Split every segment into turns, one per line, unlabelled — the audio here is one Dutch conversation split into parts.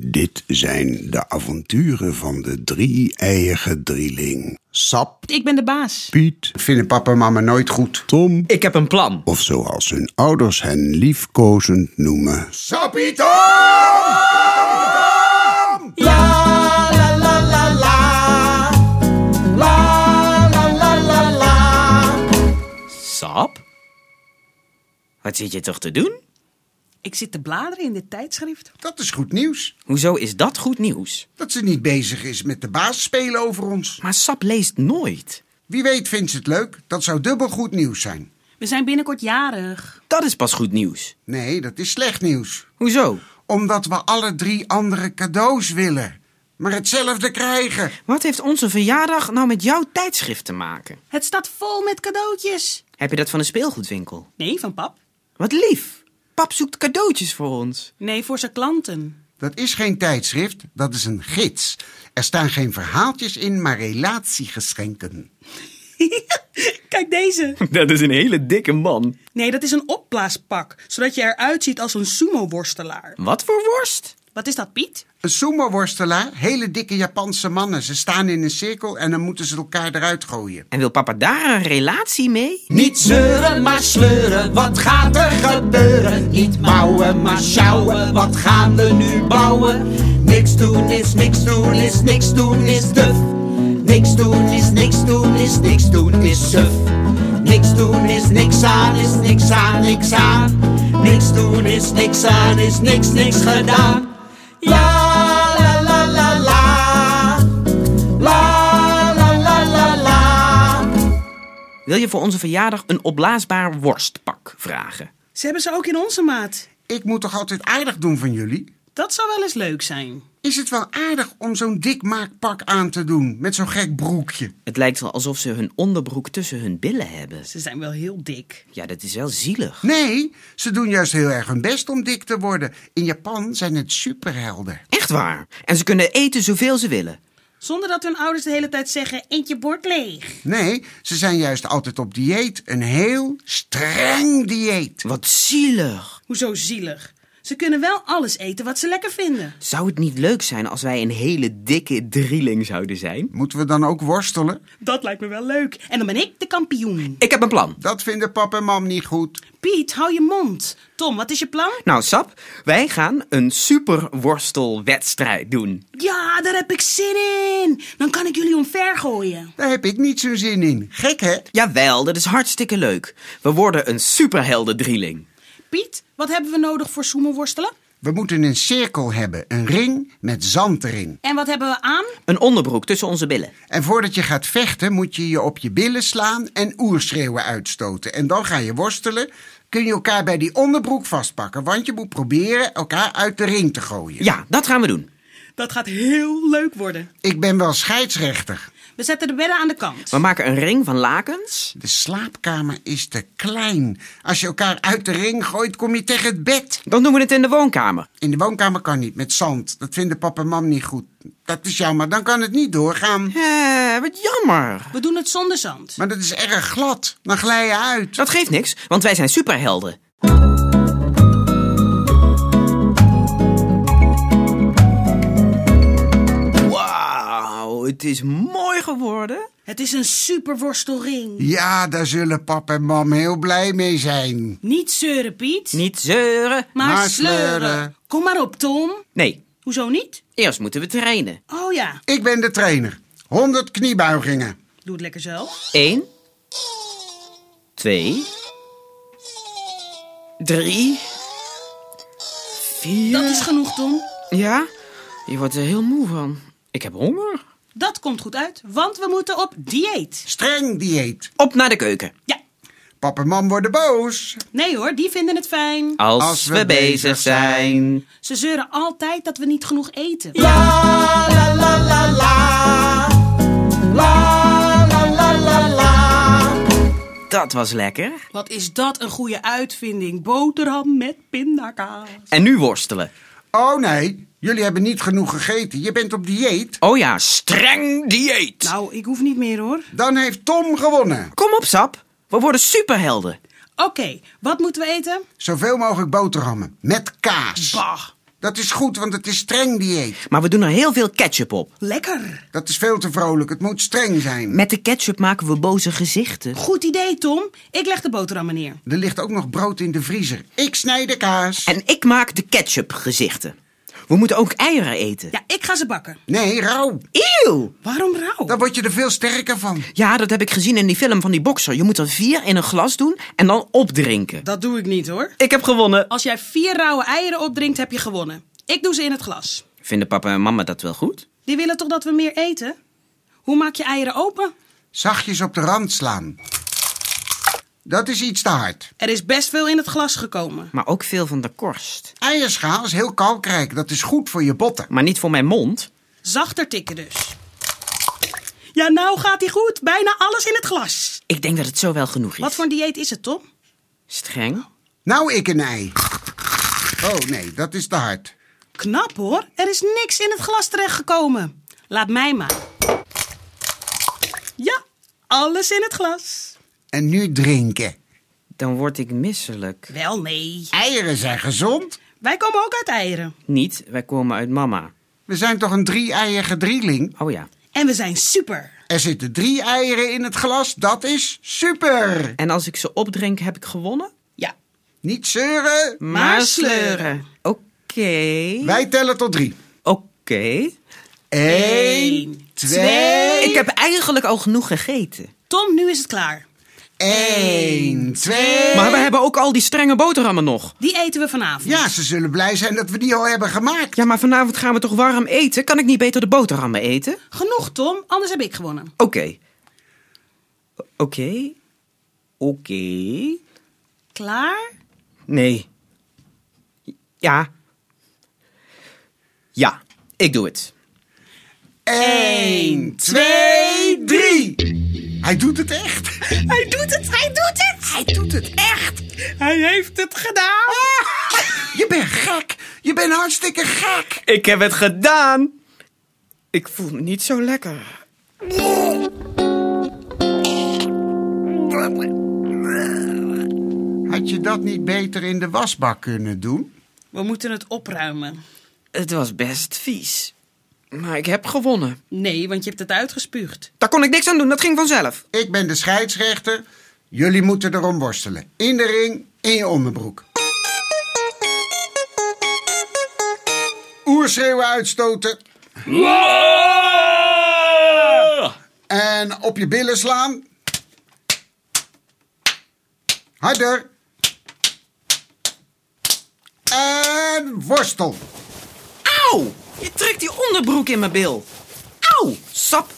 Dit zijn de avonturen van de drie-eige drieling. Sap,
Ik ben de baas.
Piet, vinden papa en mama nooit goed. Tom,
Ik heb een plan.
of zoals hun ouders hen liefkozend noemen. Sapito!
Sap? Wat zit je toch te doen?
Ik zit te bladeren in dit tijdschrift.
Dat is goed nieuws.
Hoezo is dat goed nieuws?
Dat ze niet bezig is met de baas spelen over ons.
Maar Sap leest nooit.
Wie weet vindt ze het leuk. Dat zou dubbel goed nieuws zijn.
We zijn binnenkort jarig.
Dat is pas goed nieuws.
Nee, dat is slecht nieuws.
Hoezo?
Omdat we alle drie andere cadeaus willen. Maar hetzelfde krijgen.
Wat heeft onze verjaardag nou met jouw tijdschrift te maken?
Het staat vol met cadeautjes.
Heb je dat van een speelgoedwinkel?
Nee, van pap.
Wat lief. Pap zoekt cadeautjes voor ons.
Nee, voor zijn klanten.
Dat is geen tijdschrift, dat is een gids. Er staan geen verhaaltjes in, maar relatiegeschenken.
Kijk deze.
Dat is een hele dikke man.
Nee, dat is een opblaaspak, zodat je eruit ziet als een sumo-worstelaar.
Wat voor worst?
Wat is dat, Piet?
Een sumo-worstelaar, hele dikke Japanse mannen. Ze staan in een cirkel en dan moeten ze elkaar eruit gooien.
En wil papa daar een relatie mee?
Niet zeuren, maar sleuren, wat gaat er gebeuren? Niet mouwen, maar sjouwen, wat gaan we nu bouwen? Niks doen is niks doen is niks doen is duf. Niks doen is niks doen is niks doen is suf. Niks doen is niks aan is niks aan niks aan. Niks doen is niks aan is niks niks gedaan. La la la la la. La la la la la.
Wil je voor onze verjaardag een opblaasbaar worstpak vragen?
Ze hebben ze ook in onze maat.
Ik moet toch altijd aardig doen van jullie?
Dat zou wel eens leuk zijn.
Is het wel aardig om zo'n dik maakpak aan te doen met zo'n gek broekje?
Het lijkt wel alsof ze hun onderbroek tussen hun billen hebben.
Ze zijn wel heel dik.
Ja, dat is wel zielig.
Nee, ze doen juist heel erg hun best om dik te worden. In Japan zijn het superhelden.
Echt waar. En ze kunnen eten zoveel ze willen.
Zonder dat hun ouders de hele tijd zeggen: eet je bord leeg.
Nee, ze zijn juist altijd op dieet. Een heel streng dieet.
Wat zielig.
Hoezo zielig? Ze kunnen wel alles eten wat ze lekker vinden.
Zou het niet leuk zijn als wij een hele dikke drieling zouden zijn?
Moeten we dan ook worstelen?
Dat lijkt me wel leuk. En dan ben ik de kampioen.
Ik heb een plan.
Dat vinden pap en mam niet goed.
Piet, hou je mond. Tom, wat is je plan?
Nou, Sap, wij gaan een superworstelwedstrijd doen.
Ja, daar heb ik zin in. Dan kan ik jullie omver gooien.
Daar heb ik niet zo'n zin in. Gek hè?
Jawel, dat is hartstikke leuk. We worden een superhelden drieling.
Piet, wat hebben we nodig voor sumo-worstelen?
We moeten een cirkel hebben, een ring met zand erin.
En wat hebben we aan?
Een onderbroek tussen onze billen.
En voordat je gaat vechten, moet je je op je billen slaan en oerschreeuwen uitstoten. En dan ga je worstelen. Kun je elkaar bij die onderbroek vastpakken, want je moet proberen elkaar uit de ring te gooien.
Ja, dat gaan we doen.
Dat gaat heel leuk worden.
Ik ben wel scheidsrechter.
We zetten de bedden aan de kant.
We maken een ring van lakens.
De slaapkamer is te klein. Als je elkaar uit de ring gooit, kom je tegen het bed.
Dan doen we het in de woonkamer.
In de woonkamer kan niet, met zand. Dat vinden papa en mam niet goed. Dat is jammer, dan kan het niet doorgaan.
Hé, wat jammer.
We doen het zonder zand.
Maar dat is erg glad. Dan glij je uit.
Dus Dat geeft niks, want wij zijn superhelden. Wauw, het is mooi geworden.
Het is een superworstelring.
Ja, daar zullen pap en mam heel blij mee zijn.
Niet zeuren, Piet.
Niet zeuren.
maar,
maar
sleuren.
sleuren.
Kom maar op, Tom.
Nee,
Hoezo niet?
eerst moeten we trainen.
Oh ja,
Ik ben de trainer. 100 kniebuigingen.
doe het lekker zelf.
Eén. Twee. Drie. Vier.
Dat is genoeg, Tom.
Ja, je wordt er heel moe van. Ik heb honger.
Dat komt goed uit, want we moeten op dieet.
Streng dieet.
Op naar de keuken.
Ja,
Pap en mam worden boos.
nee hoor, die vinden het fijn.
Als,
we bezig
zijn.
Ze zeuren altijd dat we niet genoeg eten.
La la la la la. La la la la la.
Dat was lekker.
Wat is dat een goede uitvinding? Boterham met pindakaas.
En nu worstelen.
Oh nee, jullie hebben niet genoeg gegeten. Je bent op dieet.
Oh ja, streng dieet.
Nou, ik hoef niet meer hoor.
Dan heeft Tom gewonnen.
Kom op, Sap. We worden superhelden.
Oké, wat moeten we eten?
Zoveel mogelijk boterhammen. Met kaas.
Bah,
Dat is goed, want het is streng dieet.
Maar we doen er heel veel ketchup op.
Lekker.
Dat is veel te vrolijk. Het moet streng zijn.
Met de ketchup maken we boze gezichten.
Goed idee, Tom. Ik leg de boterhammen neer.
Er ligt ook nog brood in de vriezer. Ik snij de kaas.
En ik maak de ketchup gezichten. We moeten ook eieren eten.
Ja, ik ga ze bakken.
Nee, rauw.
Eeuw!
Waarom rauw?
Dan word je er veel sterker van.
Ja, dat heb ik gezien in die film van die bokser. Je moet er vier in een glas doen en dan opdrinken.
Dat doe ik niet hoor.
Ik heb gewonnen.
Als jij vier rauwe eieren opdrinkt, heb je gewonnen. Ik doe ze in het glas.
Vinden papa en mama dat wel goed?
Die willen toch dat we meer eten? Hoe maak je eieren open?
Zachtjes op de rand slaan. Dat is iets te hard.
Er is best veel in het glas gekomen.
Maar ook veel van de korst.
Eierschaal is heel kalkrijk. Dat is goed voor je botten.
Maar niet voor mijn mond.
Zachter tikken dus. Ja, nou gaat ie goed. Bijna alles in het glas.
Ik denk dat het zo wel genoeg is.
Wat voor een dieet is het, Tom?
Streng.
Nou, ik een ei. Oh nee, dat is te hard.
Knap hoor. Er is niks in het glas terechtgekomen. Laat mij maar. Ja, alles in het glas.
En nu drinken.
Dan word ik misselijk.
Wel nee.
Eieren zijn gezond.
Wij komen ook uit eieren.
Niet, wij komen uit mama.
We zijn toch een drie-eierige drieling?
Oh ja.
En we zijn super.
Er zitten drie eieren in het glas. Dat is super.
En als ik ze opdrink, heb ik gewonnen?
Ja,
Niet zeuren.
Maar sleuren.
Oké.
Wij tellen tot drie.
Oké.
Eén, twee.
Ik heb eigenlijk al genoeg gegeten.
Tom, nu is het klaar.
Eén, twee.
Maar we hebben ook al die strenge boterhammen nog.
Die eten we vanavond.
Ja, ze zullen blij zijn dat we die al hebben gemaakt.
Ja, maar vanavond gaan we toch warm eten? Kan ik niet beter de boterhammen eten?
Genoeg, Tom, anders heb ik gewonnen.
Oké. O- Oké. Oké.
Klaar?
Nee. Ja. Ja, ik doe het.
Eén, twee, drie. Hij doet het echt.
Hij doet het, hij doet het! Hij doet het echt! Hij heeft het gedaan!
Ah!
Je bent gek. Je bent hartstikke gek.
Ik heb het gedaan. Ik voel me niet zo lekker.
Had je dat niet beter in de wasbak kunnen doen?
We moeten het opruimen.
Het was best vies. Maar ik heb gewonnen.
Nee, want je hebt het uitgespuugd.
Daar kon ik niks aan doen, dat ging vanzelf.
Ik ben de scheidsrechter. Jullie moeten erom worstelen. In de ring, in je onderbroek. Oerschreeuwen uitstoten. En op je billen slaan. Harder. En worstel.
Auw! Je trekt die onderbroek in mijn bil. Auw! Sap!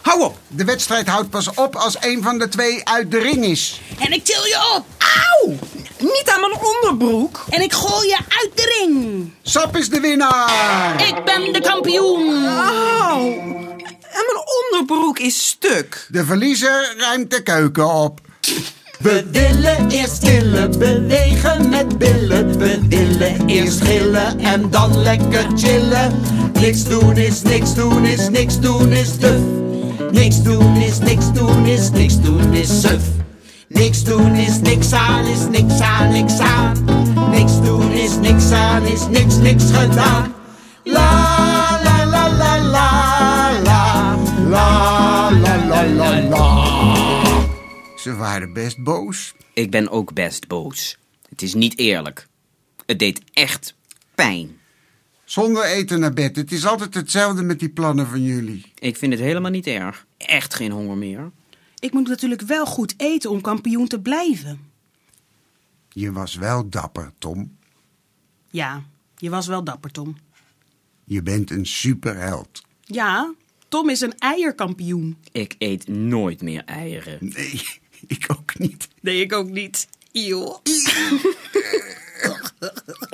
Hou op!
De wedstrijd houdt pas op als een van de twee uit de ring is.
En ik til je op!
Auw! Niet aan mijn onderbroek!
En ik gooi je uit de ring!
Sap is de winnaar.
Ik ben de kampioen!
Auw! En mijn onderbroek is stuk.
De verliezer ruimt de keuken op.
We willen eerst chillen, bewegen met billen. We willen eerst gillen en dan lekker chillen. Niks doen is niks doen is niks doen is duf. Niks doen is niks doen is niks doen is suf. Niks doen is niks aan is niks aan niks aan. Niks doen is niks aan is niks niks gedaan. La la la la la la la la la la la.
Ze waren best boos.
Ik ben ook best boos. Het is niet eerlijk. Het deed echt pijn.
Zonder eten naar bed. Het is altijd hetzelfde met die plannen van jullie.
Ik vind het helemaal niet erg. Echt geen honger meer.
Ik moet natuurlijk wel goed eten om kampioen te blijven.
Je was wel dapper, Tom.
Ja, je was wel dapper, Tom.
Je bent een superheld.
Ja, Tom is een eierkampioen.
Ik eet nooit meer eieren.
Nee, ik ook niet.
Nee, ik ook niet. Joh.